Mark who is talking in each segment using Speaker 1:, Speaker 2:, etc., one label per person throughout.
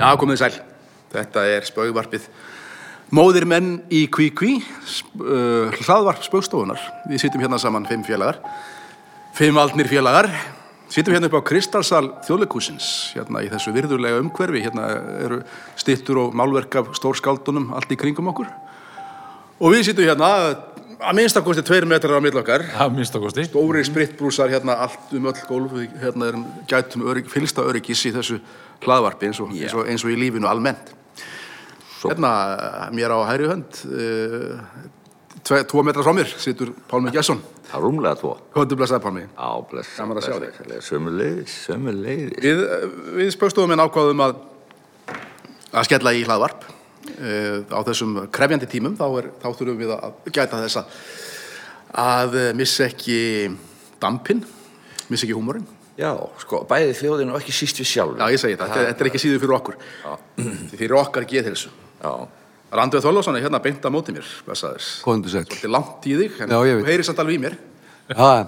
Speaker 1: Já, komið sæl. Þetta er spauvarpið Móðir menn í kví kví, sp- uh, hlaðvarp spaustofunar. Við sittum hérna saman fimm félagar, fimm aldnir félagar. Sittum hérna upp á Kristalsal þjóðleikúsins, hérna í þessu virðulega umhverfi. Hérna eru stittur og málverk af stórskáldunum allt í kringum okkur. Og við sittum hérna að minnstakosti tveir metrar á mill okkar.
Speaker 2: að minnst ákosti
Speaker 1: Stóri spritbrúsar hérna allt um öll gólf, við hérna erum gætum örygg, fylsta öryggis í þessu hlaðvarpi eins og, eins og, eins og í lífinu almennt. Hérna, mér á hæri hönd, uh, tve, tvo metra frá mér, situr Pálmi Gjesson.
Speaker 3: Það er rúmlega tvo.
Speaker 1: Hvöndu blessaði Pálmi.
Speaker 3: Á, bless.
Speaker 1: Gaman að sjá þig.
Speaker 3: Sömmulegis, sömmulegis.
Speaker 1: Við, eh, við spöksstofum en ákváðum að, að skella í hlaðvarp. Uh, á þessum krefjandi tímum þá, er, þá þurfum við að gæta þess að- að eh, missa ekki dampinn, missa ekki húmorinn.
Speaker 3: Já, sko, bæði þjóðin og ekki síst við sjálf.
Speaker 1: Já, ég segi þetta. Þetta, þetta er ekki síður fyrir okkur. Fyrir okkar geðhilsu.
Speaker 3: Já.
Speaker 1: Randveig Þorlásson er hérna beint að móti mér, blessaður.
Speaker 4: Komdu sæll.
Speaker 1: Þetta er langt í þig, en
Speaker 4: Já, ég veit.
Speaker 1: þú heyrir samt alveg í mér.
Speaker 4: Ha,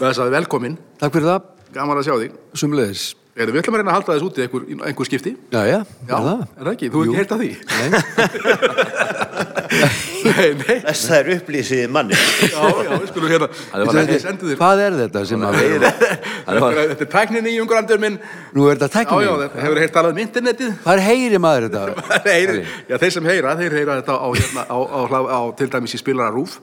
Speaker 1: Blessaður, velkomin.
Speaker 4: takk fyrir það,
Speaker 1: Gaman að sjá þig.
Speaker 4: sumleðis.
Speaker 1: Erum við ætlum að reyna að halda þess úti einhver, einhver skipti?
Speaker 4: Já, já,
Speaker 1: Já,
Speaker 4: er það.
Speaker 1: er það ekki? Þú hefur
Speaker 4: Ah. Jú.
Speaker 1: ekki heyrt að því?
Speaker 4: Nei,
Speaker 1: nei, nei.
Speaker 5: Þess það er upplýsið manni.
Speaker 1: Já, já, við skulum hérna.
Speaker 3: Það var
Speaker 1: Ég
Speaker 3: ekki-
Speaker 1: sendi þér.
Speaker 4: hvað er þetta sem að...
Speaker 3: Það var,
Speaker 1: Þetta er tækninni í ungurandur minn.
Speaker 4: Nú er þetta
Speaker 1: Já, já,
Speaker 4: teknið.
Speaker 1: þetta hefur heyrt talað um internetið.
Speaker 4: Hvað er heyri maður þetta?
Speaker 1: Heyri, já, þeir sem heyra, þeir heyra þetta á, hérna, á, á, á, á til dæmis í spilararúf.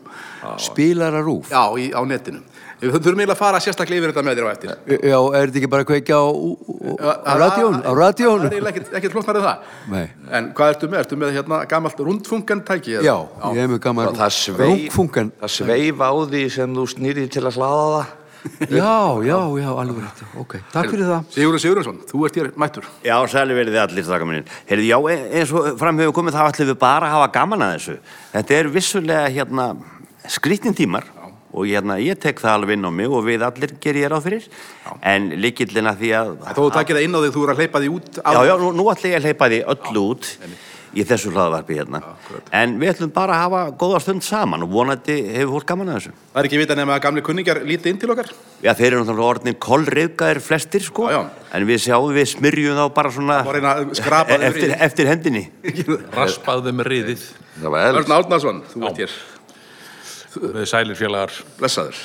Speaker 4: Spílara rúf.
Speaker 1: Já, í, á netinu. Við þurfum eiginlega að fara sérstaklega yfir þetta með þér á eftir.
Speaker 4: Já, er þetta ekki bara að kveikja á, á- á radjón? Á
Speaker 1: Það er
Speaker 4: radjón?
Speaker 1: eiginlega ekkert- ekkert flóknar en það.
Speaker 4: Nei.
Speaker 1: En hvað ertu með? Ertu með hérna gamalt rundfungan tæki? eða?
Speaker 4: Já, ég hef mjög gaman
Speaker 3: það sveif,
Speaker 4: rúffungan.
Speaker 3: það sveif á því sem þú snýrið til að hlaða það.
Speaker 4: Já, já, já, alveg rétt. Ok, takk fyrir það.
Speaker 1: Sigurður Sigurðsson, þú ert hér mættur.
Speaker 5: Já, sæli verið þið allir, þakka minni. Heyrðu, já, e- eins og fram hefur komið, þá ætlum við bara að hafa gaman að þessu. Þetta er vissulega, hérna, skrýttin tímar og hérna, ég tek það alveg inn á mig og við allir gerir ég ráð fyrir. En líkillina því að...
Speaker 1: Þó þú takir það inn á þig, þú eru að hleypa því út.
Speaker 5: Já, já, nú, nú ætlum ég að hleypa því öllu út í þessu hlaðvarpi hérna. en við ætlum bara að hafa góða stund saman og vonandi hefur fólk gaman að þessu.
Speaker 1: Það er ekki vita nema að gamli kunningar líti inn til okkar.
Speaker 5: Já, þeir eru náttúrulega orðin kollreyfgaðir flestir, sko.
Speaker 1: Já, já.
Speaker 5: En við sjáum, við smyrjum þá bara svona... E-
Speaker 1: Má reyna að skrapa þeim
Speaker 5: eftir,
Speaker 1: riðið.
Speaker 5: eftir hendinni.
Speaker 2: raspaðu með riðið
Speaker 3: Það var
Speaker 1: Örn
Speaker 3: elst.
Speaker 1: Árnason, þú ert hér.
Speaker 2: með sælir félagar
Speaker 1: Blessaður.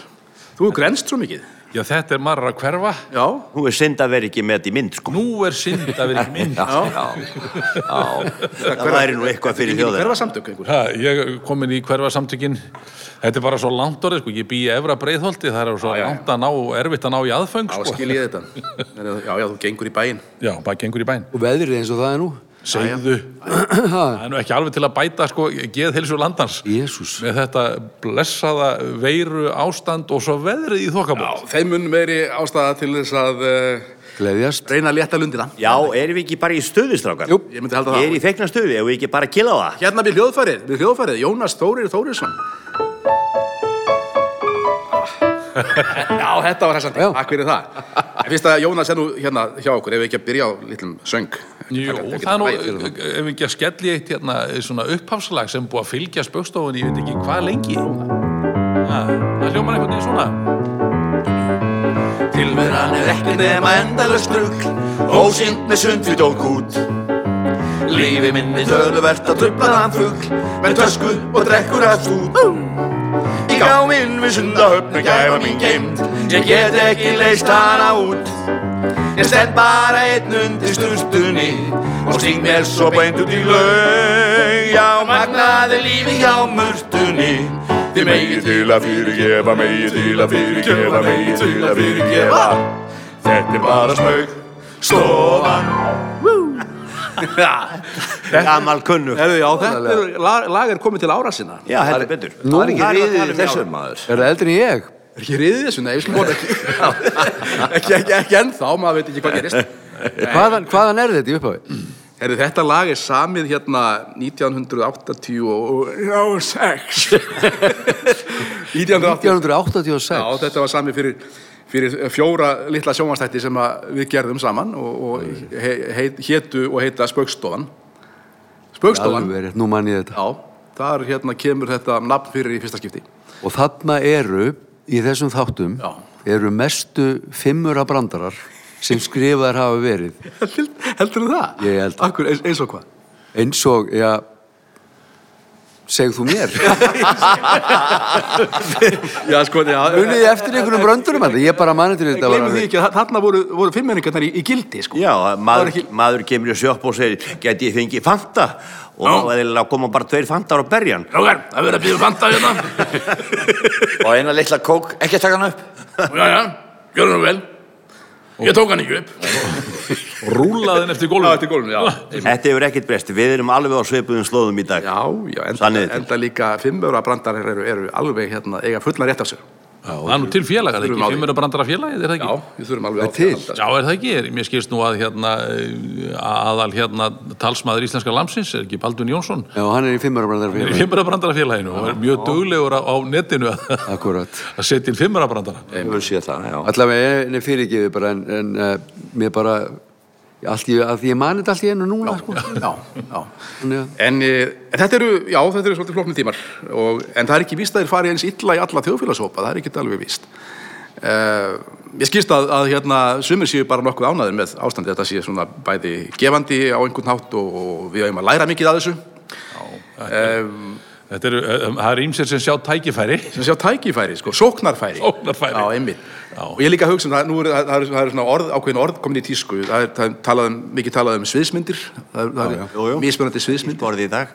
Speaker 1: Þú er grenst svo mikið.
Speaker 2: já þetta er marra að hverfa
Speaker 1: Já.
Speaker 5: Nú er synd að vera ekki með þetta í mynd, sko.
Speaker 2: nú er synd að vera ekki minn
Speaker 3: Já, já, já.
Speaker 5: það væri nú eitthvað fyrir
Speaker 1: Hver
Speaker 5: þjóðir.
Speaker 1: var samtök einhver?
Speaker 2: ha, ég er komin í hverfa samtökin þetta er bara svo langt orðið sko ég bý í efra breiðholti það er svo
Speaker 1: já, já.
Speaker 2: langt að ná erfitt að ná í aðföng
Speaker 1: Já,
Speaker 2: sko.
Speaker 1: skil ég þetta. Já, já, þú gengur í bæinn.
Speaker 2: já bara gengur í bæn
Speaker 4: Og veðrið eins og það er nú.
Speaker 2: segðu það er nú ekki alveg til að bæta sko geðhilsu landans
Speaker 4: Jésús.
Speaker 2: með þetta blessaða veiru ástand og svo veðrið í þokkabótt
Speaker 1: Þeim mun meiri ástæða til þess að uh,
Speaker 4: Gleðjast.
Speaker 1: reyna að létta lundina.
Speaker 5: Já, erum við ekki bara í stöðu, strákar?
Speaker 4: Jú.
Speaker 1: Ég myndi halda það.
Speaker 5: Ég er í feikna stöðu, ef við ekki bara að killa á það.
Speaker 1: Hérna við hljóðfærið, við hljóðfærið, Jónas Þórir Þórisson. Já, þetta var hæsandi,
Speaker 4: Já.
Speaker 1: takk fyrir það. En fyrst að Jónas er nú hérna hjá okkur, ef við ekki að byrja á litlum söng.
Speaker 2: Jú, það er nú, ef við ekki að skelli eitt hérna, svona upphafslag sem búið að fylgja spökstofunni, ég veit ekki hvað lengi. Ha, Það hljómar einhvern veginn svona.
Speaker 6: Tilveran er ekki nema endalaust strugg Ósýnd með sundfýt og kút Lífi minni töluvert að trubla hann fugg Með tösku og drekkur að stút Í gáminn við sundahöfn er gæfa mín geimd Ég get ekki leist hana út Ég stend bara einn undir stustunni Og sting mér svo beint út í laug Já, magnaði lífi hjá mörtunni Þið megið til að fyrirgefa, megið til að fyrirgefa, megið til að fyrirgefa Þetta er bara spaug, stofan
Speaker 5: Gamal kunnu.
Speaker 1: Herðu, já, þetta er, lag, lag er komið til ára sinna.
Speaker 5: Já, heldur betur.
Speaker 3: Það er ekki
Speaker 5: Það
Speaker 1: um
Speaker 3: riðið
Speaker 5: er
Speaker 3: í þessum maður.
Speaker 4: Er það eldri en ég?
Speaker 1: Er ekki riðið þessu? Nei, ég slúm ekki. ekki, ekki, ekki ennþá, maður veit ekki hvað gerist.
Speaker 4: Hvaðan, hvaðan er þetta í upphafi?
Speaker 1: Herðu, þetta lag er samið hérna 1986. 1986.
Speaker 4: 1986.
Speaker 1: Já, þetta var sami fyrir, fyrir fjóra litla sjómanstætti sem að við gerðum saman og, og he, he, hétu og heita Spaukstofan. Spaukstofan,
Speaker 4: Alveg rétt, nú man ég þetta.
Speaker 1: já, þar hérna kemur þetta nafn fyrir í fyrsta skipti.
Speaker 4: Og þarna eru, í þessum þáttum,
Speaker 1: Já.
Speaker 4: eru mestu fimmura brandarar sem skrifaðar hafa verið
Speaker 1: Heldur þú það?
Speaker 4: Ég held það.
Speaker 1: Akkur, eins, eins og hvað?
Speaker 4: eins og, já segð þú mér
Speaker 1: Já, sko, já
Speaker 4: muniði eftir einhvernum bröndurum að það ég bara mani til þetta var
Speaker 1: Gleimum því
Speaker 4: alveg-
Speaker 1: ekki að þarna voru, voru fimm menningarnar í, í gildi, sko
Speaker 5: Já,
Speaker 1: Það var
Speaker 5: maður,
Speaker 1: ekki-
Speaker 5: maður kemur í sjöpp og segir, geti ég fengið fanta? Og
Speaker 1: Já.
Speaker 5: þá eðlilega koma bara tveir fantar á berjan.
Speaker 1: Jógar, það verður að býða fanta hérna
Speaker 3: Og eina litla kók, ekki að taka hann upp
Speaker 1: Já, já, gjörðu nú vel Ég tók hann ekki upp
Speaker 2: Rúlaðin eftir gólfinu.
Speaker 1: eftir gólfinu, já.
Speaker 5: Þetta hefur ekkert breyst, við erum alveg á svipuðum slóðum í dag.
Speaker 1: Já, já, enda,
Speaker 5: Sanniði til.
Speaker 1: enda líka fimmöra brandarar eru, eru alveg hérna, eiga fullan rétt af sér
Speaker 2: Það er nú til félagar,
Speaker 1: Þurfum á
Speaker 2: ekki?
Speaker 1: því.
Speaker 2: Fimmur að brandara félagið, er það
Speaker 1: Já,
Speaker 2: ekki?
Speaker 1: við þurfum alveg á
Speaker 4: Það er
Speaker 1: því að halda,
Speaker 2: Já, er það ekki? Er- Mér skilst nú að hérna, eh, aðal hérna talsmaður íslenska lamsins, er ekki Baldun Jónsson?
Speaker 4: já, hann er í fimmara
Speaker 2: Í
Speaker 4: bröndar fyrir
Speaker 2: fimmurabrandara félaginu og er mjög duglegur á, á netinu að,
Speaker 4: akkurat
Speaker 2: að setja inn fimmurabrandara.
Speaker 3: Ég vil sé það, já
Speaker 4: allavega, nei, fyrirgefið bara en, en uh, mér bara allt í, að því ég mani þetta allt í einu núna sko.
Speaker 1: sko. Já, já
Speaker 4: Þannig að-
Speaker 1: En, eh, en þetta eru, já, þetta eru svolítið flóknir tímar og, en það er ekki víst að þeir fari eins illa í alla þjóðfélagshópa, það er ekki alveg víst. Uh, ég skýrst að, að hérna, sumir séu bara nokkuð ánaðir með ástandið, þetta sé svona bæði gefandi á einhvern hátt og, og við hefum að læra mikið að þessu,
Speaker 2: Þetta eru, eh, það eru ímsir sem sjá tækifæri.
Speaker 1: sem sjá tækifæri, sko, sóknarfæri.
Speaker 2: Sóknarfæri.
Speaker 1: Já, einmitt.
Speaker 2: Já.
Speaker 1: Og ég líka hugsa um það, nú er, það, er, það er svona orð, ákveðin orð komin í tísku, það er, það er talað um, mikið talað um sviðsmyndir, það er, það er
Speaker 5: Jú, jú.
Speaker 1: mismunandi sviðsmyndir.
Speaker 5: Borðið í dag.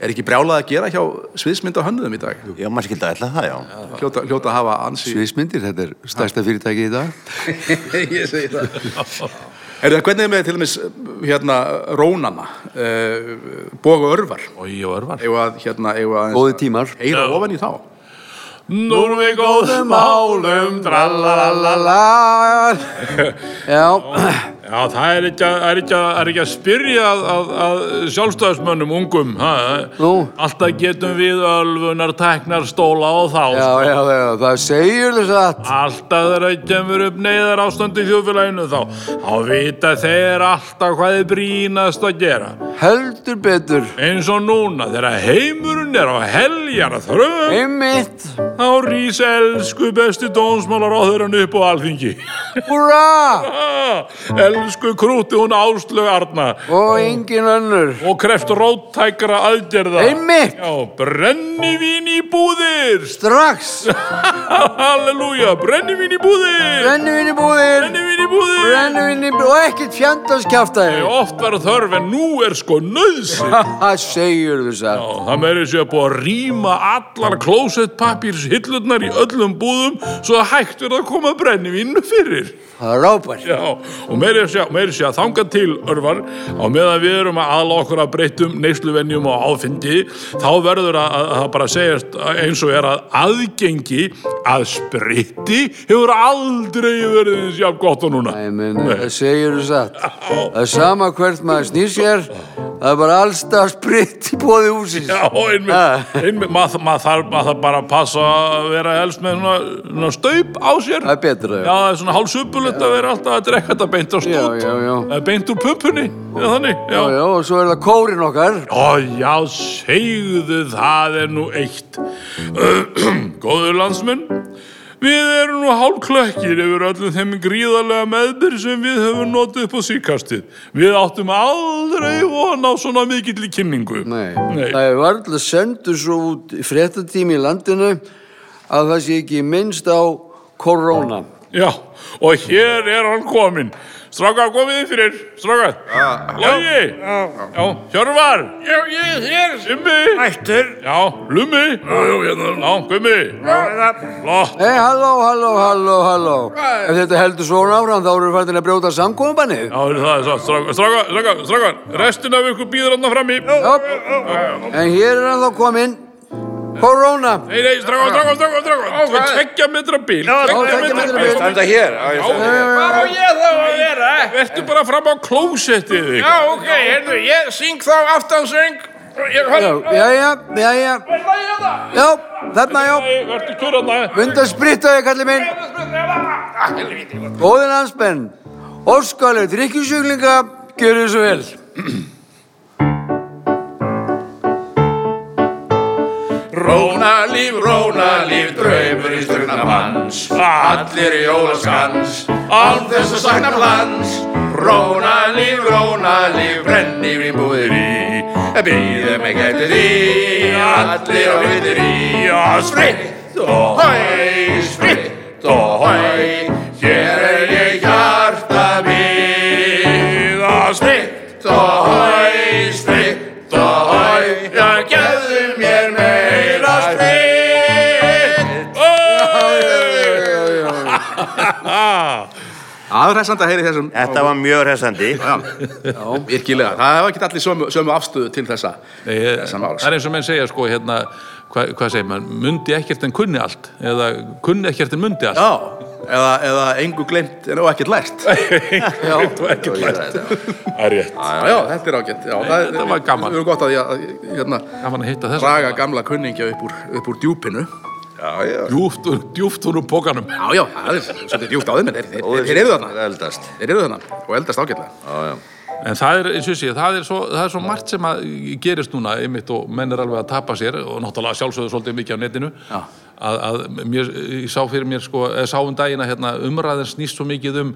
Speaker 1: Er ekki brjálað að gera hjá sviðsmyndahönnuðum í dag?
Speaker 5: Já, maður skildi ætla það, já.
Speaker 1: Hljóta, hljóta að hafa ansi...
Speaker 4: sviðsmyndir, þetta er stærsta fyrirtæki í dag
Speaker 1: ég segi það Herðu, en hvernig er með til dæmis hérna, rónana uh, Boga örvar
Speaker 2: Og ég og örvar.
Speaker 1: Eða að, hérna, eða að
Speaker 4: góði tímar
Speaker 1: Eira ofan í þá
Speaker 2: Nú erum við góðum málum, dralalalala.
Speaker 4: já,
Speaker 2: Já, það er ekki að, er ekki að, er ekki að spyrja að, að, að sjálfstæðismönnum ungum. Ha? eh?
Speaker 4: Nú.
Speaker 2: Alltaf getum við ölfunar teknar stóla og þá.
Speaker 4: já, já, já það segjur þess að
Speaker 2: Alltaf þegar það kemur upp neyðar ástand í þjóðfélaginu þá þá vita þeir alltaf hvað er brínast að gera
Speaker 4: heldur betur
Speaker 2: eins og núna þegar heimurinn er á heljar að þröf
Speaker 4: einmitt,
Speaker 2: þá rís elsku besti dónsmálar á upp á alþingi
Speaker 4: hurra
Speaker 2: Ah, elsku krúti hún áslög Arna
Speaker 4: og engin önnur
Speaker 2: og kreft róttækra aðgerða
Speaker 4: Einmitt.
Speaker 2: Já, brennivín í búðir
Speaker 4: strax,
Speaker 2: Halleluja, brennivín í búðir
Speaker 4: brennivinni búðir
Speaker 2: Brennivín í búðir
Speaker 4: brennivinni búðir og ekkert fjandanskjaftaði
Speaker 2: Oft var þörf en nú er sko nöðsinn.
Speaker 4: það segjur þess að
Speaker 2: Það meður þessi að búa að rýma allar klósettpapírshillurnar í öllum búðum svo að hægt verða að koma brennivínu fyrir.
Speaker 4: það er rápar
Speaker 2: Já, og meður þessi að þanga til, örvar, á meðan við erum að aðla okkur að breyttum neysluvenjum og áfengi, þá verður að, að, að bara segjast eins og er að aðgengi að spriti hefur aldrei verið eins jafn gott og núna.
Speaker 4: Æ, menn, það segjur þess að það er sama hvert maður snýr sér það er bara allstað spritt í bóði húsins
Speaker 2: Já, einmitt,
Speaker 4: Ha.
Speaker 2: einmitt maður mað þarf mað þarf bara að passa að vera helst með svona, svona staup á sér.
Speaker 4: það er betra
Speaker 2: Já, það er svona hálfsupulegt að vera alltaf að drekka þetta beint á stút.
Speaker 4: Já, já, já.
Speaker 2: Það er beint úr pumpunni, eða þannig, já.
Speaker 4: Já, já, og svo er það kórin okkar
Speaker 2: Ó, já, segðu það er nú eitt. Góður landsmenn, við erum nú hálfklökkir yfir öllum þeim gríðarlega meðbyr sem við höfum notið upp á síkastið. Við áttum aldrei von á svona mikill kynningu.
Speaker 4: Nei,
Speaker 2: Nei.
Speaker 4: það er varðlega sendur svo út fréttatími í landinu að það sé ekki minnst á korona
Speaker 2: Já, og hér er hann kominn. Stráka, komið inn fyrir. Stráka. Logi. Já. Já, Hjörvar. Já, ég er hér. Simmi. Ættur. Já, Lumi. Já, já, hérna. Já, Gummi. Já, hérna. Flott.
Speaker 4: Hei, halló, halló, halló, halló Ef þetta heldur svona áfram þá eru fættin að brjóta samkombani
Speaker 2: Já, það er svo. Stráka, stráka, stráka, stráka. Restin af ykkur býður hann frammi. Já.
Speaker 4: En hér er hann þá kominn Korona
Speaker 2: Nei, nei, stráka, stráka, stráka, stráka. Já, hvað? Tveggja metra bíl. Já,
Speaker 4: tveggja metra bíl.
Speaker 3: Standa hér, á ég standa hér
Speaker 7: Hvað á ég þá að gera?
Speaker 2: Vertu bara fram á klósettið þig.
Speaker 7: Já, ok, hérna, ég syng þá aftansöng. Ég
Speaker 4: Já,
Speaker 7: höll
Speaker 4: já, já, já, já
Speaker 2: hérna.
Speaker 4: Já, þarna, já
Speaker 2: Vertu kjur hann
Speaker 4: Mynda sprittaði, kalli minn
Speaker 2: hérna, Ah,
Speaker 4: Góðin anspenn Óskaleg drikkjusjúklinga Gjörðu svo vel
Speaker 2: Rólegur
Speaker 7: Rónalíf, rónalíf, draumur í strögnar manns Allir í jólaskans, án þess að sakna plans Rónalíf, rónalíf, brennir í búðir í Býðum ekki eftir því, allir á vittir í Og spritt og hói, spritt og hói Hér er ég hjarta míð Og spritt og hói, spritt og hói Já, gefðu mér meira spritt
Speaker 1: Aðræsand að heyri þessum
Speaker 5: Þetta var mjög resandi.
Speaker 1: Virkilega, það var ekki allir sömu, sömu afstöðu til þessa
Speaker 2: Nei, ég-
Speaker 1: Þessa máls.
Speaker 2: það er eins og menn segja sko hérna hva, hvað segir maður, mundi ekkert en kunni allt eða kunni ekkert en mundi allt
Speaker 1: Já, eða, eða engu glemt en óekkert lært Já,
Speaker 2: já, ekkert lært það er rétt,
Speaker 1: já, þetta er ágætt já, það,
Speaker 2: þetta var gaman.
Speaker 1: Við erum gott að ég að- hérna,
Speaker 2: gaman að hitta þess
Speaker 1: draga gamla kunningja upp úr, upp úr djúpinu
Speaker 2: djúft, úr- djúft úr úr pókanum
Speaker 1: Já, já, það er svolítið djúpt á þeim en þeir, þeir, þeir, þeir eru þarna
Speaker 3: Eldast
Speaker 1: Þeir eru þarna og eldast ágætlega
Speaker 2: en það er, eins og ég sé, það er svo, það er svo margt sem að gerist núna einmitt og menn er alveg að tapa sér og náttúrulega sjálfsögðu svolítið mikið á netinu
Speaker 1: Já.
Speaker 2: að, að mér, ég sá fyrir mér sko, eða sá um dagina hérna umræðin snýst svo mikið um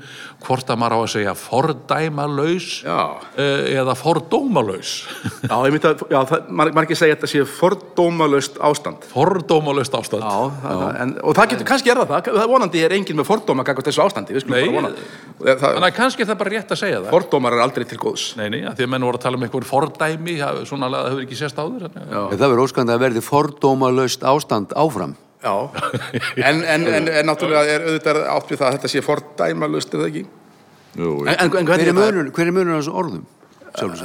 Speaker 2: hvort að maður á að segja fordæmalaus
Speaker 1: Já.
Speaker 2: eh, eða fordómalaus
Speaker 1: Já, ég myndi að, já, það, mar, margir segja að þetta sé fordómalaust ástand
Speaker 2: fordómalaust ástand
Speaker 1: Já, það, en, og það getur, kannski er það það, það vonandi er enginn með fordóma gagvart þessu ástandi, við
Speaker 2: Nei.
Speaker 1: skulum bara vona það, það,
Speaker 2: Þannig að kannski er það bara rétt að segja það.
Speaker 1: Fordómar er aldrei til góðs
Speaker 2: Nei, nei, að því að menn voru að tala um einhver fordæmi, það- svona að það hefur ekki sést áður. þannig að-
Speaker 4: En Það verður óskandi að verði fordómalaust ástand áfram.
Speaker 1: Já, en, en, en, en náttúrulega er auðvitað átt við það að þetta sé fordæmalaust, er það ekki? Jú, en, en, en
Speaker 4: Hver
Speaker 1: hvernig
Speaker 4: er munur, hver er munur á þessum orðum?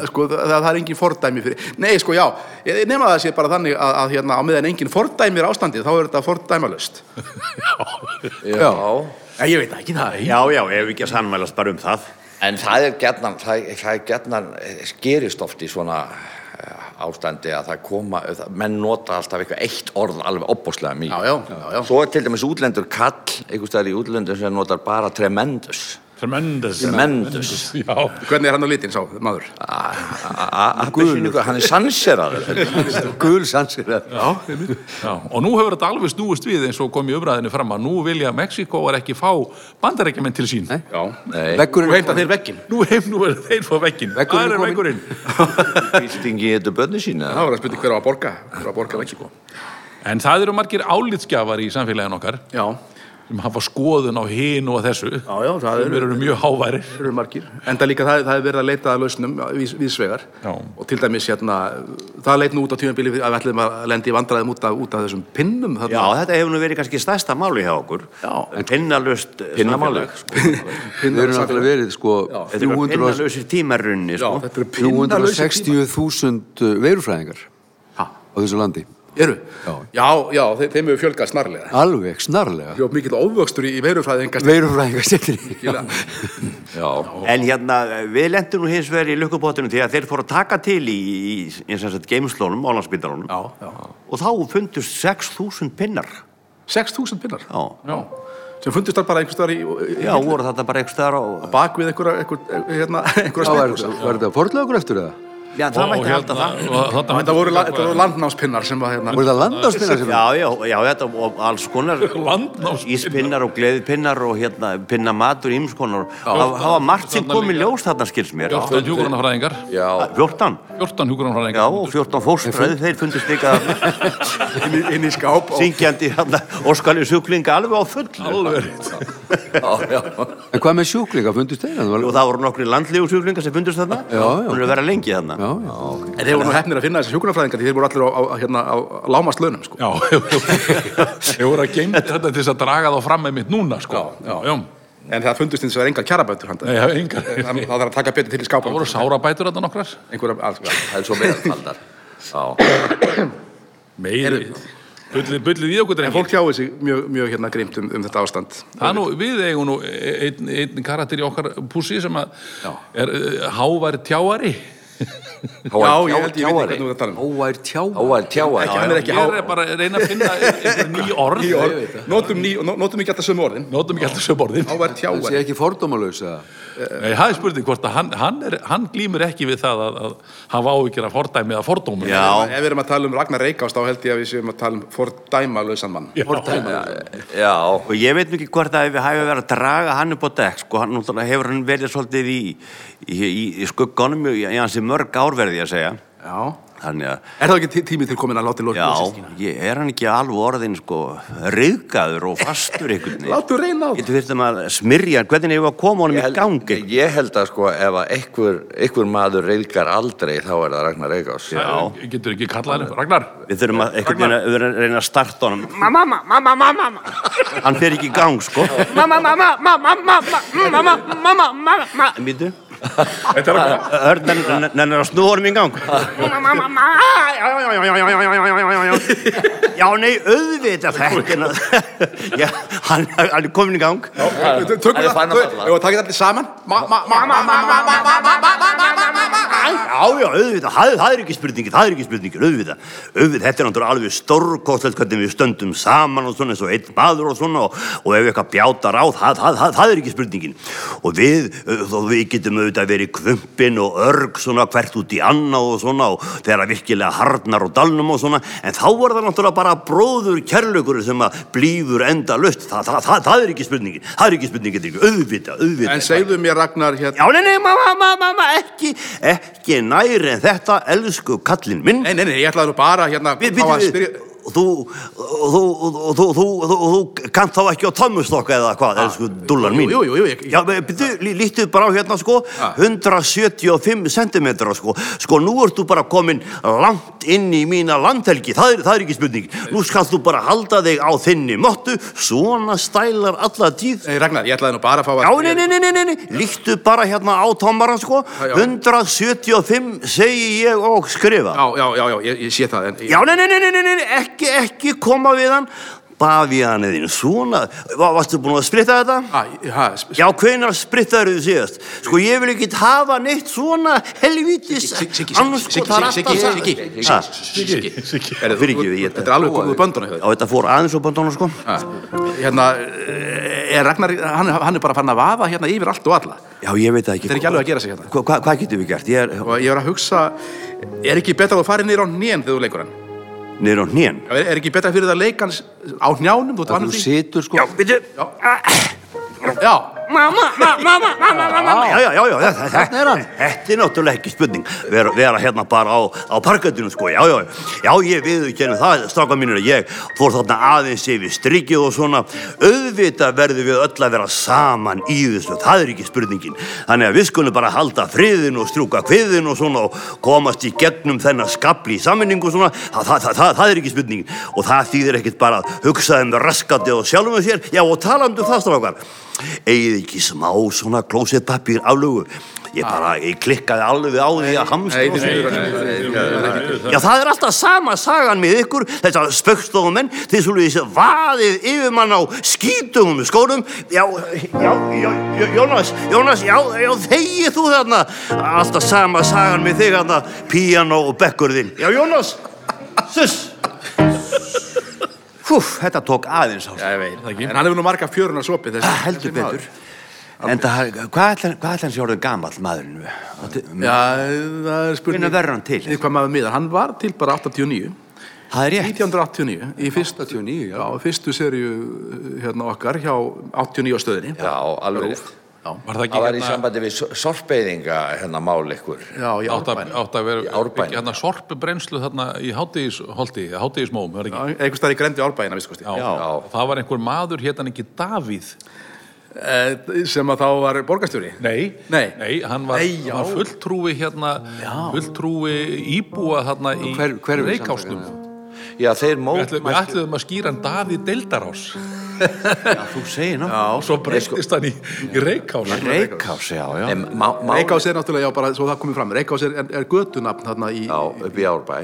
Speaker 1: Sko, það, það er engin fordæmi fyrir Nei, sko, já, ég ég nema að það sé bara þannig að, að hérna, á meðan engin fordæmi er ástandið þá er þetta fordæmalaust
Speaker 4: Já.
Speaker 1: Nei, ég veit það ekki það
Speaker 5: Já, já, ef ekki að sannmælast bara um það.
Speaker 3: En það er gerðnan, það, það er gerðnan, eh, gerist oft í svona eh, ástandi að það koma, eh, það- menn nota alltaf eitthvað eitt orð alveg opbóslega
Speaker 1: Já,
Speaker 3: mikið.
Speaker 1: já, já, já.
Speaker 3: Svo er til dæmis útlendur kall, einhvers staðar í útlendum sem notar bara tremendus.
Speaker 2: Tremendous.
Speaker 3: Tremendous.
Speaker 2: Já,
Speaker 1: Hvernig er hann á litinn, sá, maður?
Speaker 3: Appelsinu, hann er sanseraður.
Speaker 4: Gul sansir
Speaker 1: Já,
Speaker 2: já, og nú hefur þetta alveg snúist við eins og kom í umræðinu fram að nú vilja Mexikoar ekki fá bandarækjumenn til sín.
Speaker 4: Nei.
Speaker 1: já Þú
Speaker 4: Veggurinn
Speaker 1: heimta þeir vegginn
Speaker 2: Nú hef nú verið þeir fá vekkin. Það
Speaker 4: Veggurinn
Speaker 2: er
Speaker 4: kominn.
Speaker 2: vekkurinn.
Speaker 3: Bíltingi getur börni sína.
Speaker 1: Það var að spurning hver á að borga, hver á að borga vegginn sko.
Speaker 2: En það eru margir álitsgjafar í samfélagin okkar
Speaker 1: Já,
Speaker 2: sem hafa skoðun á hinn og að þessu.
Speaker 1: já, já, það
Speaker 2: Þeir
Speaker 1: eru,
Speaker 2: eru mjög háværir.
Speaker 1: eru margir Enda líka það, það er verið að leita að lausnum við, við svegar
Speaker 2: Já.
Speaker 1: Og til dæmis, hérna, það leit nú út á tímabili að við ætlum að lendi í vandræðum út af, út af þessum pinnum
Speaker 5: Já,
Speaker 1: þarna.
Speaker 5: þetta hefur nú verið kannski stærsta máli hjá okkur. eh,
Speaker 1: Já.
Speaker 5: Pinnalust. Pinnamáli.
Speaker 4: við erum náttúrulega verið sko
Speaker 5: sko. Þetta eru
Speaker 4: 300 og-
Speaker 5: pinnalusir tímarunni, sko.
Speaker 1: Þetta eru pinnalausir tímar
Speaker 4: 360.000 uh, veirufræðingar
Speaker 1: Ha,
Speaker 4: á þessu landi.
Speaker 1: Eru? Já, já, þe- þeim hefur fjölgað snarlega
Speaker 4: Alveg snarlega.
Speaker 1: Ljóf mikill óvöxtur í veirufræðingast
Speaker 4: Veirufræðingar settir
Speaker 5: En hérna, við lendum nú hins vegar í lukkupottinu því að þeir fóru að taka til í, í, í, í geimslónum, álandsbytarunum.
Speaker 1: Já, já
Speaker 5: Og þá fundust 6.000 pinnar.
Speaker 1: 6.000 pinnar
Speaker 5: Já.
Speaker 2: Já.
Speaker 1: sem fundust þar bara einhvers staðar í,
Speaker 5: Já, voru þetta bara einhvers staðar á...
Speaker 1: bak við einhverja einhver, hérna, einhverja
Speaker 4: Var
Speaker 1: smiðhúsa
Speaker 4: var þetta fornlögur eftir það?
Speaker 5: Já, það
Speaker 2: hérna,
Speaker 5: mætti halda
Speaker 1: hérna-
Speaker 5: það.
Speaker 1: þetta voru, la- þetta voru landnámspinnar sem var hérna
Speaker 4: Voru það landáspinnar sem
Speaker 5: Já, já, já, þetta og alls konar
Speaker 2: Landnámspinnar.
Speaker 5: Íspinnar og gleðipinnar og hérna pinnamatur, ímskonar Það það var margt sem
Speaker 2: þarna
Speaker 5: kom í
Speaker 2: líka.
Speaker 5: ljós þarna skils mér
Speaker 2: 14 hjúgrunafræðingar.
Speaker 5: Ah, 14?
Speaker 2: 14 hjúgrunafræðingar.
Speaker 5: Já, og 14 fóströð, þeir fundist líka
Speaker 1: inn, í- inn í skáp og
Speaker 5: syngjandi hérna, óskalju sjúklinga alveg á fullu
Speaker 2: Alveg rétt.
Speaker 4: En hvað með sjúklinga fundust þeir? Það
Speaker 5: og
Speaker 4: var-
Speaker 5: það voru nokkri landlegu sjúklinga sem fundist þarna
Speaker 4: Já, já.
Speaker 5: Hún er að vera lengi þarna
Speaker 4: Já, já.
Speaker 1: En þeir voru nú hefnir að finna þessi hjúkunarfræðingar því þeir voru allir á, á, hérna, á lámast launum sko.
Speaker 2: Já, ég voru að geima þetta til þess að draga þá fram með mitt núna, sko.
Speaker 1: Já, já.
Speaker 2: já.
Speaker 1: En það fundust eins og það er engar kjarabætur handa.
Speaker 2: Nei, ég hef engar.
Speaker 1: Það það þarf að taka betur til í skápa.
Speaker 2: Það voru sárabætur þetta nokkrar.
Speaker 1: Einhverja, alls,
Speaker 3: Það er svo meðalfaldar. Já.
Speaker 2: Meiri. Bullið, bullið í okkur,
Speaker 1: En
Speaker 2: drengi.
Speaker 1: fólk tjáði sig mjög, mjög hérna grímt um, um þetta ástand.
Speaker 2: Það er nú, við eigum nú einn ein karakter í okkar pússi sem að er uh, hávær eh, tjáari.
Speaker 1: Já,
Speaker 3: Háværi
Speaker 1: ég held ég veit
Speaker 3: tjáari
Speaker 1: ekki hvað þú ert að tala um.
Speaker 4: Óvær tjáa.
Speaker 3: Háværi tjáari
Speaker 1: Hann er ekki
Speaker 2: Ég er
Speaker 1: há...
Speaker 2: bara að reyna að finna einhver ný orð.
Speaker 1: Ný orð. Notum, ný, no- notum ekki alltaf sömu orðin.
Speaker 2: Nótum ekki alltaf svo borðin.
Speaker 1: Hávar
Speaker 4: Það sé
Speaker 1: tjáar.
Speaker 4: ekki fordómalaus að
Speaker 2: Nei, það er spurning hvort að hann, hann, er, hann glýmur ekki við það að, að hann vá ekki að fordæmi að fordómi.
Speaker 1: Ef
Speaker 5: Já,
Speaker 1: við erum að tala um Ragnar Reykjást þá held ég að við séum að tala um fordæmalausan mann.
Speaker 2: fordæmi.
Speaker 3: Já,
Speaker 5: og ég veit nú ekki hvort að við hæfum verið að draga hann upp á dekk sko, hann náttúrulega hefur hann verið svolítið í, í, í, í skugganum í, í hansi mörg árverði að segja
Speaker 1: Já.
Speaker 5: þannig að,
Speaker 1: Er það ekki tí- tími til komin að láta í lóta
Speaker 5: já, ég er hann ekki alveg orðin sko, reyðgaður og fastur einhvern veginn,
Speaker 1: Látum reyna á það.
Speaker 5: getur fyrir að smyrja hvernig hefur að koma honum
Speaker 3: Ég
Speaker 5: í gangi
Speaker 3: held, ég held að sko ef að einhver, einhver maður reyðgar aldrei þá er það Ragnar Reykjás
Speaker 5: Já.
Speaker 2: Getur ekki kallað hann, Ragnar?
Speaker 5: Við þurfum að, einhvern veginn að við verðum að reyna að starta honum. Mamma, mamma, mamma, mamma. Hann fer ekki í gang, sko.
Speaker 8: Mamma, mamma, mamma, mamma, mamma, mamma, mamma, mamma.
Speaker 5: En býtu,
Speaker 2: Þetta er Ragnar.
Speaker 5: Örn nenn- nennir að snúa honum í gang. Já, nei, auðvitað þetta. er að- Já, hann, hann er komin í gang.
Speaker 1: Tökum það,
Speaker 3: farin
Speaker 1: tökum-
Speaker 3: að falla.
Speaker 1: ef við takkum það allir saman. Ma, ma, ma, ma, ma, ma, ma, ma, ma, ma, ma, ma, ma, ma, ma.
Speaker 5: Já, já, auðvitað, það, það er ekki spurningin, það er ekki spurningin, auðvitað. Auðvitað, þetta er náttúrulega alveg stórkostlegt hvernig við stöndum saman og svona eins og einn maður og svona og, og ef eitthvað bjátar á, það, það, það, það er ekki spurningin. Og við, uh, þó við getum auðvitað verið kvumpin og örg svona hvert út í annað og svona og þegar að virkilega harnar og dalnum og svona en þá er það náttúrulega bara bróður kærleikur sem að blífur enda löst. Það, það, það, það er ekki spurningin, það er ekki spurningin, auðvitað, auðvitað.
Speaker 1: En segðu mér Ragnar hérna.
Speaker 5: Já, nei, nei, mamma, mamma, mamma, ekki, ekki næri en þetta, elsku kallinn minn.
Speaker 1: Nei, nei, nei, ég ætlaði nú bara hérna.
Speaker 5: Við,
Speaker 1: á
Speaker 5: við,
Speaker 1: að
Speaker 5: við,
Speaker 1: spyrja-
Speaker 5: og þú, og þú, og þú, og þú, þú, þú, þú, þú kannt þá ekki á tommustokka eða hvað, elsku dúllar
Speaker 1: Ah,
Speaker 5: mín.
Speaker 1: jú, Ah. jú, jú, ég-
Speaker 5: Já, byrju, lítið bara á hérna, sko, 175 cm, sko. Sko, nú ert þú bara komin langt inn í mína landhelgi, það er, það er ekki spurning. Nú skalst þú bara halda þig á þinni mottu, svona stælar alla tíð.
Speaker 1: Nei, Ragnar, ég ætlaði nú bara að fá að...
Speaker 5: Já, nei, nei, nei, nei, nei, nei, líktu bara hérna á tómaran, sko,
Speaker 1: Já, já.
Speaker 5: 175 segi ég og skrifa.
Speaker 1: Já, já, já, já, ég, ég sé það, en...
Speaker 5: Já, nei, nei, nei, nei, nei, nei, nei, ekki, ekki koma við hann, bafi hann eðin, svona, Va- varstu búin að spritta þetta?
Speaker 1: Ah, ha, sp-
Speaker 5: Já, hvenar sprittaður þið síðast? Sko, ég vil ekki hafa neitt svona helvítis, annars sko, það er alltaf það.
Speaker 1: Siggi,
Speaker 5: Ha,
Speaker 1: Siggi, Siggi. Herri, þú-
Speaker 5: Fyrirgefið, ég-
Speaker 1: Þetta er alveg komið úr böndunum hjá
Speaker 5: Já, þetta fór aðeins á bandana, sko.
Speaker 1: þér. Hérna, eh, er Ragnar, hann, hann er bara fann að vafa hérna yfir allt og alla.
Speaker 5: Já, ég veit það ekki.
Speaker 1: Þetta er ekki alveg að gera sig hérna.
Speaker 5: Hva- hva- Hvað getum við gert? Ég er
Speaker 1: Og ég var að hugsa, er ekki betra að þú farir niður á hnén þegar þú leikur hann?
Speaker 5: niður á hnén.
Speaker 1: Já, Er, er ekki betra fyrir það að leika hans á njánum, þú ert
Speaker 4: að
Speaker 1: vanur
Speaker 4: þú
Speaker 1: því?
Speaker 4: situr sko.
Speaker 1: Já,
Speaker 5: já, já, já, já, já
Speaker 4: Þarna er hann.
Speaker 5: Þetta er náttúrulega ekki spurning vera, vera hérna bara á, á parkettinu sko, já, já, já, ég viðurkenni það stráka mínir að ég fór þarna aðeins yfir strikið og svona auðvitað verðum við öll að vera saman í þessu, það er ekki spurningin þannig að við skulum bara halda friðin og strjúka kviðin og svona og komast í gegnum þennan skabli í sammenningu og svona, það, það, það, það, það er ekki spurningin og það þýðir ekkit bara að hugsa um raskandi og sjálfum sér, já og talandi um það strákar eigið ekki smá svona klósettpapír aflögu ég bara, ég klikkaði alveg á því að hamstra og svona. já það er alltaf sama sagan með ykkur þessar spöggstofumenn þið svolítið þessi vaðið yfir mann á skítum skórum já, já, já, já, Jónas Jónas, já, já, þegið þú þarna alltaf sama sagan með þig þarna píano og bekkurðinn já, Jónas, suss Húf, þetta tók aðeins á sig.
Speaker 1: ég veit. En hann hefur nú marga fjörun að sopi þessi.
Speaker 5: Það Ah, heldur
Speaker 1: þessi maður.
Speaker 5: betur. En það, hvað ætlar hvað ætlar hann sé orðin gamall maðurinn? Átti-
Speaker 1: Já, það er spurning.
Speaker 5: Hvenær verður hann til?
Speaker 1: Við hvað maður miðar. Hann var til bara 89.
Speaker 5: Það er rétt.
Speaker 1: 1989. Í fyrst,
Speaker 4: 89, já.
Speaker 1: já, fyrstu serju hérna okkar hjá 89 stöðinni.
Speaker 3: Já, alveg rétt.
Speaker 2: Var það ekki
Speaker 3: Það var í
Speaker 2: hérna-
Speaker 3: sambandi við sor- sorpeyðinga hérna mál ykkur
Speaker 1: Já, já,
Speaker 2: átt að, átt að
Speaker 3: Í
Speaker 2: vera
Speaker 3: Árbænum.
Speaker 2: ekki hérna sorpbrennslu þarna í hátíðisholti, hátíðismóum er það ekki?
Speaker 1: Eitthvað stær í grendi árbæðina, vissi kosti.
Speaker 2: Já. Það var einhver maður hérna ekki Davíð.
Speaker 1: Eh, Sem að þá var borgarstjóri.
Speaker 2: Nei.
Speaker 1: Nei.
Speaker 2: hann var,
Speaker 1: Nei, já.
Speaker 2: hann var fulltrúi hérna, já. fulltrúi íbúa þarna í
Speaker 4: Hver- hverfissamtökin,
Speaker 2: Reykjásnum.
Speaker 3: Já, þeir
Speaker 2: Við
Speaker 3: mót
Speaker 2: ætluðum, við ætluðum að skýra hann Davíð Deildarás.
Speaker 5: Þú segir ná.
Speaker 2: Og svo breytist hann í, í Reykjásnum.
Speaker 5: Reykjás, já, já.
Speaker 3: Em, má, má,
Speaker 1: Reykjás er náttúrulega, já, bara svo það komið fram. Reykjás er, er, er götunafn þarna í...
Speaker 3: Já, upp í Árbæ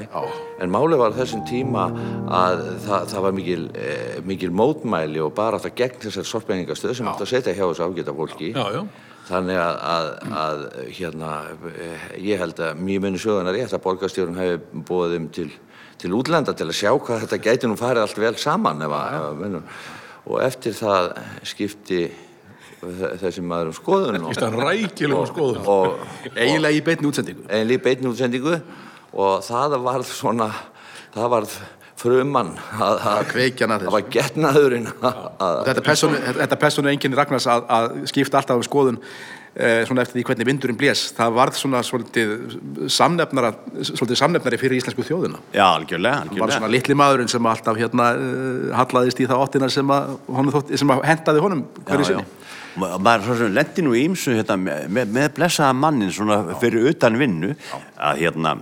Speaker 3: En máli var á þessum tíma að það, það var mikil, e, mikil mótmæli og bara þetta gegn þessar sorpeyðingastöð sem átt að setja hjá þessu ágæta fólki
Speaker 2: Já, já.
Speaker 3: þannig að, að, að hérna, eh, ég held að mjög minni sögunar rétt að borgarstjórnum hefur búið þeim til, til útlanda til að sjá hvað þetta gæti nú farið allt vel saman ef að, ef að menn, og eftir það skipti þe- þessi maður um skoðun og,
Speaker 2: Þetta er rækilega skoðun.
Speaker 3: og,
Speaker 1: Eiginlega í beinni útsendingu.
Speaker 3: en líf beinni útsendingu og það varð svona það varð frumann að, að
Speaker 1: kveikjan að þessu.
Speaker 3: það var getnaðurinn að, að
Speaker 1: Þetta persónu, þetta persónu enginn Ragnars að, að skipta alltaf um skoðun eh, svona eftir því hvernig vindurinn blés. Það varð svona svolítið samnefnara, svolítið samnefnari fyrir íslensku þjóðina.
Speaker 5: Já, algjörlega,
Speaker 1: Hann var svona
Speaker 5: algjörlega.
Speaker 1: litli maðurinn sem alltaf hérna uh, hallaðist í það áttina sem að, honum þótt, sem að hentaði honum hverju
Speaker 5: Já, já.
Speaker 1: sinni.
Speaker 5: Ma- maður svo sem lendi nú í ímsu hérna, með, með blessaða mannin svona fyrir utan vinnu að hérna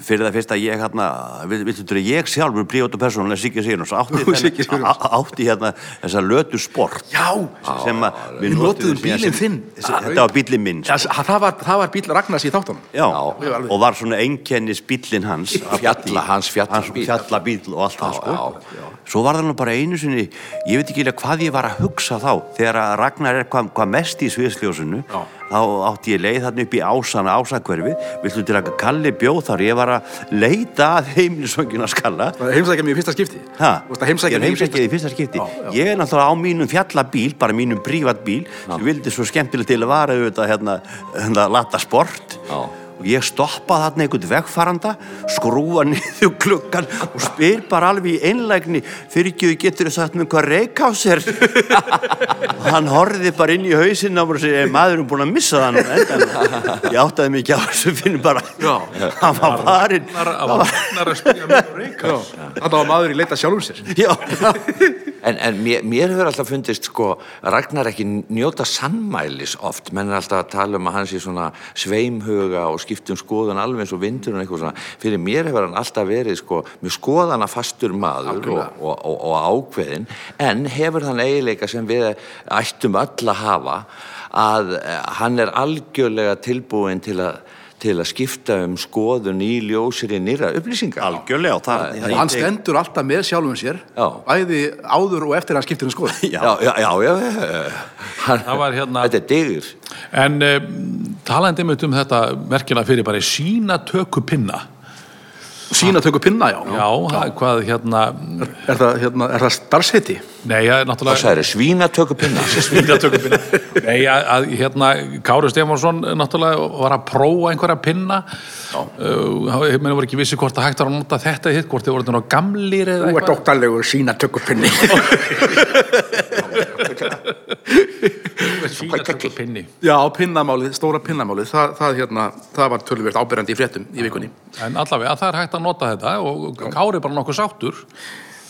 Speaker 5: fyrir það fyrst að ég hérna vil- viltu þetta ég sjálfur blíð út og persónulega Siggi Sigurjóns átti,
Speaker 1: Ú, Siggi
Speaker 5: þennan-
Speaker 1: Sigurjóns.
Speaker 5: á- á- átti hérna þessa lötu sport
Speaker 1: Já,
Speaker 5: sem að
Speaker 1: Við notuðum
Speaker 5: síðan
Speaker 1: bílinn
Speaker 5: sem-
Speaker 1: þinn.
Speaker 5: þessi- þetta var bílinn minn sko.
Speaker 1: það, það, var, það var bíl Ragnars í þáttunum.
Speaker 5: já, og var svona einkennis bílinn hans
Speaker 3: fjalla hans
Speaker 5: hans
Speaker 3: fjallabíl
Speaker 5: fjallabíl og allt það sko
Speaker 3: já,
Speaker 5: svo var það nú bara einu sinni ég veit ekki eiginlega hvað ég var að hugsa þá þegar að Ragnar er hvað, hvað mest í sviðsljósinu þá átti ég leið þarna upp í ásana ásakverfi viltu til að kalli bjóð þar ég var að leita að heimilisöngina skalla
Speaker 1: Það heimsækja mér í fyrsta skipti.
Speaker 5: Ha,
Speaker 1: Þú veist að heimsækja
Speaker 5: ég er
Speaker 1: mig
Speaker 5: heimsækjað í fyrsta skipti
Speaker 1: Já, já.
Speaker 5: ég er náttúrulega á mínum fjallabíl bara mínum prívatbíl sem vildi svo skemmtilegt til að vara auðvitað hérna, hérna lata sport
Speaker 3: Já.
Speaker 5: og ég stoppa þarna einhvern vegfaranda skrúa niður klukkan og spyr bara alveg í einlægni fyrir ekki þú getur sagt mér hvað reik á sér og hann horfið bara inn í hausinn á mér og segir maðurum búin að missa það nú endan ég áttaði mig ekki á þessu finnum bara hann var farinn
Speaker 2: Það var ragnar að spyrja mig um reika.
Speaker 1: Þetta var maður í leita sjálfum sér.
Speaker 5: já
Speaker 3: en, en mér, mér hefur alltaf fundist sko, Ragnar ekki njóta sannmælis oft, menn er alltaf að tala um að hann sé svona sveimhuga og skiptum skoðan alveg eins og vindur og eitthvað svona fyrir mér hefur hann alltaf verið sko, mjög skoðana fastur maður og, og, og, og ákveðin, en hefur þann eiginleika sem við ættum öll að hafa að eh, hann er algjörlega tilbúin til að til að skipta um skoðun í ljósir í nýra upplýsingar
Speaker 5: algjörlega og það, það,
Speaker 1: Og hann stendur alltaf með sjálfum sér,
Speaker 3: Já.
Speaker 1: bæði áður og eftir að hann skiptir um skoðun.
Speaker 3: já, já, já, já, já. Hann,
Speaker 2: Það var hérna-
Speaker 3: þetta er digir
Speaker 2: En eh, talandi einmitt um þetta merkina fyrir bara sína töku pinna.
Speaker 1: Sína tökur pinna, já.
Speaker 2: Já, það- hvað hérna,
Speaker 1: Er það, hérna, er það starfsheiti?
Speaker 2: nei, það er náttúrulega...
Speaker 3: það eru svínatöku pinna
Speaker 2: svínatökupinna Nei, að, að hérna Kári Stefánsson eh, náttúrulega var að prófa einhverja pinna uh, hann voru ekki vissi hvort að hægt var að nota þetta hitt, hvort þið voru náttúrulega gamlir eða
Speaker 1: Þú ert óttalegur sína tökur pinni.
Speaker 2: eitthvað svínatökupinni
Speaker 1: já, pinnamálið, stóra pinnamálið, það, það, hérna, það var tölvöld ábyrjandi í fréttum í vikunni.
Speaker 2: En allavega, það er hægt að nota þetta og Kári er bara nokkuð sáttur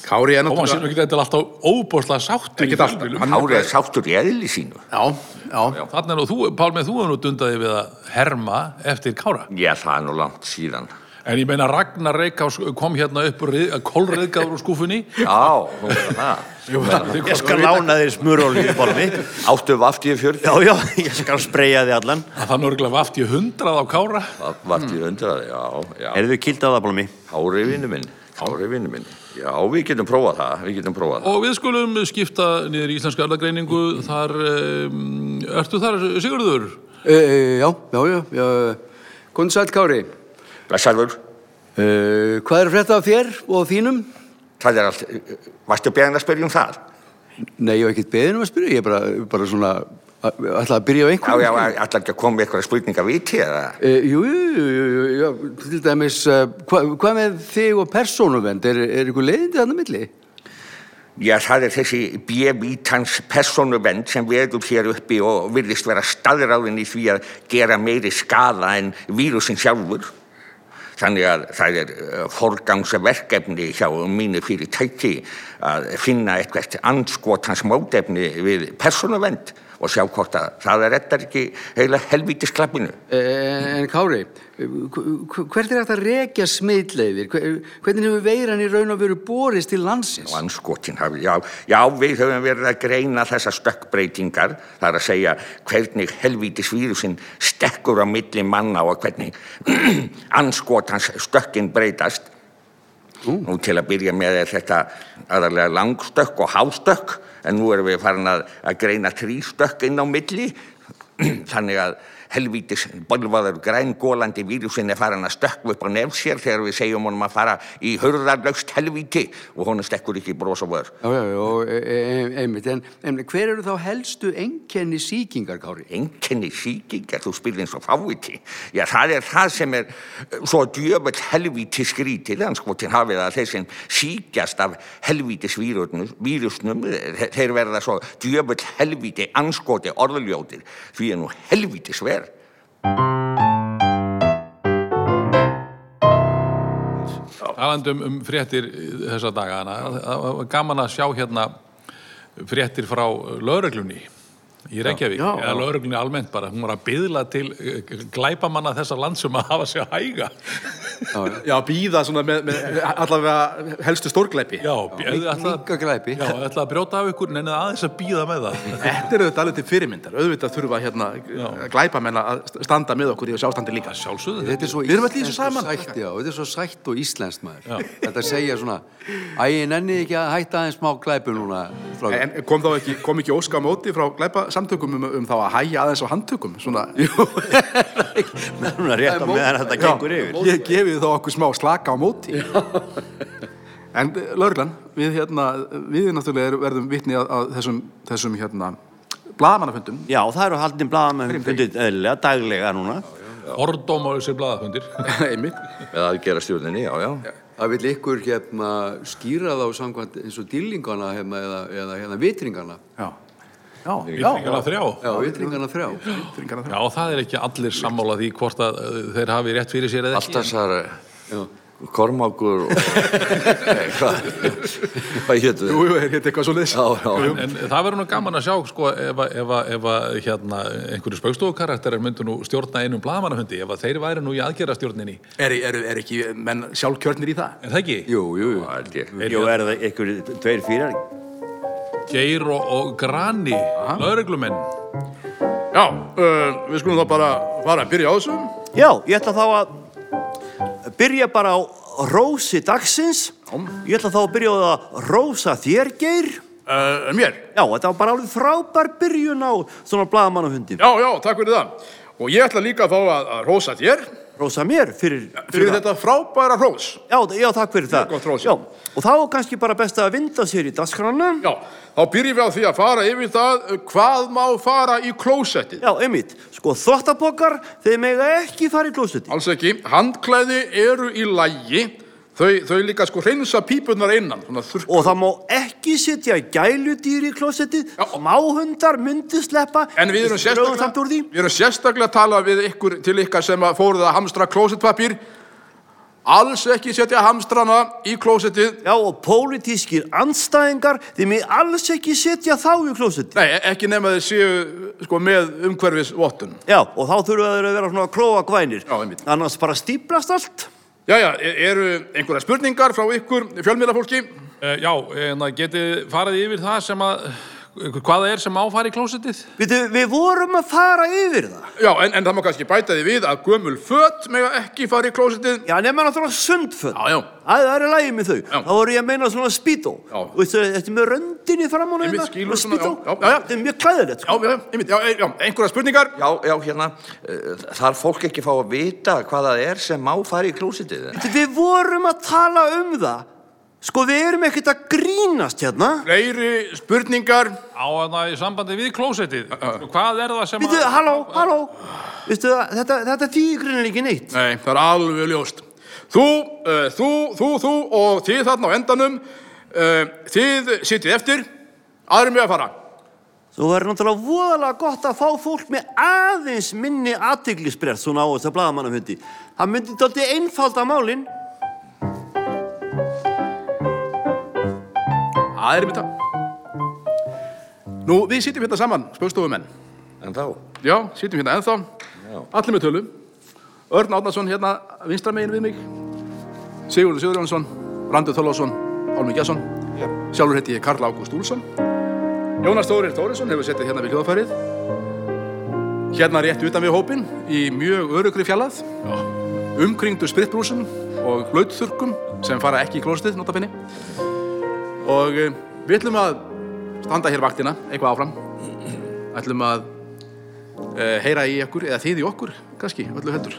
Speaker 1: Kári er
Speaker 2: og hann sér
Speaker 1: náttúrulega...
Speaker 2: ekki þetta er alltaf óbúrslega sáttur
Speaker 1: Ekkert alltaf. Hann-
Speaker 3: Árið er sáttur í eðli sínu
Speaker 1: Já, já.
Speaker 2: Þannig að þú, Pálmi, þú hefur nú dundaði við að herma eftir Kára
Speaker 3: já, það er nú langt síðan
Speaker 2: En ég meina Ragnar Reykjás kom hérna upp kólriðgáður úr skúfunni
Speaker 3: já, nú er það
Speaker 5: Ég skal lána þér smurólíu bolmi
Speaker 3: áttu vaftið
Speaker 5: Já,
Speaker 3: fjörði
Speaker 5: já, ég skal spreja þig allan
Speaker 2: að þannig örgulega vaft ég hundrað á Kára
Speaker 3: vaftið undraði, já, já
Speaker 5: Erðu kilt á það bolmi?
Speaker 3: árið vinnu minn árið vinnu minn já, við getum prófað það við getum prófað það
Speaker 2: Og við skulum skipta niður í Íslenska erðagreiningu þar, um, ertu þar Sigurður?
Speaker 4: E, e, já, já, já, já. Góðan sæl Kári.
Speaker 3: blessarður
Speaker 4: E, hvað er að frétta af þér og þínum?
Speaker 3: það er allt eh, varstu beðin að spyrja um það
Speaker 4: Nei, ég hef ekkert beðin um að spyrja, ég er bara, bara svona, ætla að byrja á
Speaker 3: já,
Speaker 4: einhverjum.
Speaker 3: já, alltaf ekki að koma með eitthvað spurninga viti eða
Speaker 4: E, jú, jú, jú, jú, jú, jú, til dæmis, uh, hva, hvað með þig og persónuvend, er, er ykkur leiðindi þarna á milli?
Speaker 3: Já, það er þessi bjevítans personuvend sem veður hér uppi og virðist vera staðráðin í því að gera meiri skada en vírusin sjálfur. Þannig að það er eh, forgangsverkefni hjá mínu fyrirtæki að finna eitthvað anskotans mótefni við personuvend og sjá hvort að það er þetta ekki heila helvítisklappinu.
Speaker 4: E, en Kári, eh, hv- hv- hvert er hægt að rekja smitleiðir? Hve- Hvernig hefur veiran í raun og veru borist til landsins?
Speaker 3: Anskotin hafi, já, já, við höfum verið að greina þessar stökkbreytingar, það er að segja hvernig helvítis vírusinn stekkur á milli manna og hvernig anskotans stökkin breytast. Nú til að byrja með er þetta aðalega langstökk og hástökk, en nú erum við farin að, að greina þrýstökk inn á milli
Speaker 9: Þannig að helvítis bölvaður grængólandi vírusin er farin að stökkva upp á nefn sér þegar við segjum honum að fara í hurðarlaust helvíti og honum stekkur ekki bros og vör.
Speaker 4: Já, já, já, e- e- einmitt, en, en hver eru þá helstu enkenni sýkingar, Kári?
Speaker 9: Enginni síkingar, þú spyrir eins og fáviti. Já, það er það sem er eh, svo djöfull helvíti skrítið, en sko til hafið að þeir sem síkjast af helvítis vírusnum, vírusnum eh, þeir verða svo djöfull helvíti anskoti orðljótir, því er nú helvíti sver.
Speaker 2: Talandum um fréttir þessa dagana, það var gaman að sjá hérna fréttir frá lögreglunni í Reykjavík,
Speaker 4: Já, já.
Speaker 2: eða lögreglunni almennt bara, hún var að byðla til eh, glæpamanna þessa land sem að hafa sig að hæga.
Speaker 1: Já, býða svona með, með allavega helstu stórglæpi.
Speaker 2: Já, bjöðu alltaf...
Speaker 4: Minkaglæpi.
Speaker 2: Já, ætla að brjóta af ykkur, nennið aðeins að býða með það.
Speaker 1: Þetta er auðvitað alveg til fyrirmyndar. Auðvitað þurfa hérna glæpa menna að standa með okkur í þessu ástandi líka.
Speaker 2: Sjálfsögðu
Speaker 4: Þetta er svo
Speaker 1: Við erum öll í þessu
Speaker 4: íslenskt og
Speaker 1: saman.
Speaker 4: Sætt, já, þetta er svo sætt og íslenskt maður. Þetta segja svona, æ, ég nenni ekki að hætta aðeins smá glæpu núna. strákar."
Speaker 1: En kom þá ekki, kom ekki óska á móti frá glæpa samtökum um, um þá að hæja aðeins á handtökum? Svona, jú,
Speaker 5: Núna rétt á meðan þetta gengur yfir.
Speaker 1: ég gefið þá okkur smá slaka á móti. en laurlan, við hérna, við náttúrulega er- verðum vitni að, að þessum, þessum hérna, blaðamannafundum.
Speaker 5: Já, það eru haldin blaðamenn fundið eðlilega, daglega núna.
Speaker 2: Ordóm á þessi blaðafundir.
Speaker 1: Einmitt.
Speaker 3: með aðgera stjórninni, já, já.
Speaker 4: Það vil ykkur hérna skýra þá samkvæmt eins og dýlingana hérna, eða, eða hérna vitringana.
Speaker 1: Já. Já, já.
Speaker 2: Vitringana þrjá.
Speaker 4: Já, vitringana þrjá.
Speaker 1: Vitringarna þrjá.
Speaker 2: Já, það er ekki allir sammála því hvort að eh, þeir hafi rétt fyrir sér eða ekki.
Speaker 3: Baltasar, eh, Kormákur og Nei, hvað, hvað hétu
Speaker 1: Jú, jú, er hérna eitthvað svo
Speaker 3: Já, já,
Speaker 2: En það verður nú gaman að sjá sko, ef, að- ef, að- ef að, hérna, einhverju spaukstofukarakterar myndu nú stjórna einum blaðmannafundi ef að þeir væri nú í aðgerastjórninni
Speaker 1: Er, er, er ekki menn sjálfkjörnir í það?
Speaker 2: Er það ekki?
Speaker 4: Jú, jú, jú.
Speaker 3: það held ég.
Speaker 5: Jú, er það ykkur tveir, fýrar?
Speaker 2: Geir og, og Grani, lauruglumenn
Speaker 1: Já, uh, við skulum þá bara fara að byrja á þessu.
Speaker 5: Já, ég ætla þá að byrja bara á rósi dagsins. Ég ætla þá að byrja á að rósa þér, Geir.
Speaker 1: Uh, mér?
Speaker 5: Já, þetta var bara alveg frábær byrjun á svona blaðamannafundi.
Speaker 1: Já, já, takk fyrir það. Og ég ætla líka að fá að, að rósa þér
Speaker 5: Rósa mér fyrir...
Speaker 1: fyrir þetta frábæra hrós.
Speaker 5: Já, já, takk fyrir það.
Speaker 1: gott hrós.
Speaker 5: Já, og þá er kannski bara best að vinda sér í dagskrána.
Speaker 1: Já, þá byrjum við á því að fara yfir það uh, hvað má fara í klósettið.
Speaker 5: Já, einmitt. Sko, þottabokkar, þeir mega ekki fara í klósetti.
Speaker 1: Alls ekki, handklæði eru í lægi, þau, þau líka sko hreinsa pípunar innan, svona þurrk.
Speaker 5: Og það má ekki setja gæludýr í klósetti.
Speaker 1: Já.
Speaker 5: Smáhundar myndi sleppa.
Speaker 1: En við erum
Speaker 5: Við drögum
Speaker 1: sérstaklega,
Speaker 5: samt úr því.
Speaker 1: við erum sérstaklega að tala við ykkur, til ykkar sem að fóruð að hamstra klósettpapír. Alls ekki setja hamstrana í klósettið
Speaker 5: Já, og pólitískir anstæðingar, þeir mig alls ekki setja þá í klósetti.
Speaker 1: Nei, e- ekki nema þeir séu sko, með umhverfisvottun.
Speaker 5: Já, og þá þurfa þeir að vera svona klóagvænir.
Speaker 1: Já, einmitt.
Speaker 5: Annars bara stíplast allt.
Speaker 1: Jæja, e- eru einhverja spurningar frá ykkur fjölmiðlafólki?
Speaker 2: uh, Já, en það getið farið yfir það sem að hvaða er sem áfari í klósettið
Speaker 5: Við, við vorum að fara yfir það.
Speaker 1: Já, en, en það má kannski bæta því við að gömul fött mega ekki fara í klósitið.
Speaker 5: Já, nema náttúrulega sundföld.
Speaker 1: Já, já.
Speaker 5: Æ, það er í lagi með þau.
Speaker 1: Já.
Speaker 5: Þá voru ég að meina svona spító.
Speaker 1: Já.
Speaker 5: Veistu, þetta er með röndinni fram á
Speaker 1: Einmitt,
Speaker 5: neina.
Speaker 1: skilur svona,
Speaker 5: hérna? spító.
Speaker 1: já, já, já.
Speaker 5: Þetta er mjög klæðilegt.
Speaker 1: Já,
Speaker 5: Sko.
Speaker 1: já, einmitt, já, e- já, einhverja spurningar?
Speaker 3: Já, já, hérna, eh, þarf fólk ekki að fá að vita hvað það er sem má fara í klósitið?
Speaker 5: Veitu, Við vorum að tala um það. Sko, við erum ekkert að grínast hérna.
Speaker 1: Fleiri spurningar?
Speaker 2: á að það í sambandi við klósettið Sko, hvað er það sem
Speaker 5: Veitu,
Speaker 2: að
Speaker 5: halló, halló. Veistu, það, þetta, þetta þýgrinir ekki neitt.
Speaker 1: Nei, það er alveg ljóst. Þú, uh, þú, þú, þú og þið þarna á endanum, uh, þið sitjið eftir, aðrum við að fara.
Speaker 5: Þú verður náttúrulega voðalega gott að fá fólk með aðeins minni aðteglisbrett svona á þess að blaðamannafundi. Það myndi dálítið einfalda málinn.
Speaker 1: Aðrum við það. Nú, við sitjum hérna saman, spöðstofumenn.
Speaker 3: En þá?
Speaker 1: Já, sitjum hérna ennþá. Allir með tölu. Örn Átnarsson hérna vinstra megin við mig. Sigurður Sigurjónsson, Randur Þorlásson, Álmi Gjesson. Sjálfur heiti ég Karl Ágúst Úlsson. Jónas Þórir Þórisson hefur settið hérna við hljóðfærið. Hérna rétt utan við hópinn í mjög örugri fjallað. Umkringdu spritbrúsum og hlautþurkum sem fara ekki í klóstið, notafinni. Og eh, við ætlum að standa hér vaktina eitthvað áfram. ætlum að eh, heyra í okkur, eða þið í okkur kannski, öllu heldur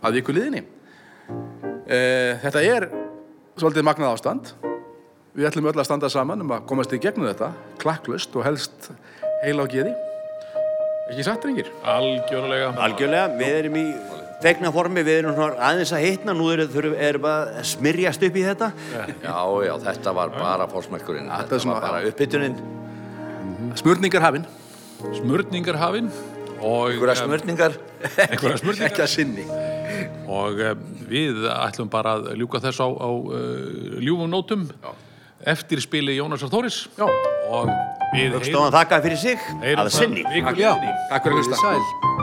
Speaker 1: að viku liðinni eh, þetta er svolítið magnað ástand við ætlum öll að standa saman um að komast í gegnum þetta klakklust og helst heila og geði ekki satt, drengir?
Speaker 2: Algjörlega
Speaker 5: Algjörlega, við erum í fegna formi, við erum svona aðeins að hitna, nú erum við er bara að smyrjast upp í þetta.
Speaker 3: Já, já, þetta var bara fórsmekkurinn
Speaker 1: Þetta er svona-
Speaker 3: var bara uppbytunin
Speaker 1: Smurningar hafin
Speaker 2: Smurningar hafin og hérna,
Speaker 3: Einhverja smörningar
Speaker 2: einhverja smurningar
Speaker 1: ekki að sinni
Speaker 2: og eh, við ætlum bara að ljúka þess á, á uh, ljúfum nótum eftir spili Jónasar Þóris
Speaker 1: Já.
Speaker 2: og við
Speaker 5: Stofan þakkaði fyrir sig,
Speaker 2: heyrum
Speaker 5: að sinni.
Speaker 2: viku liðinni.
Speaker 1: Takk fyrir að hlusta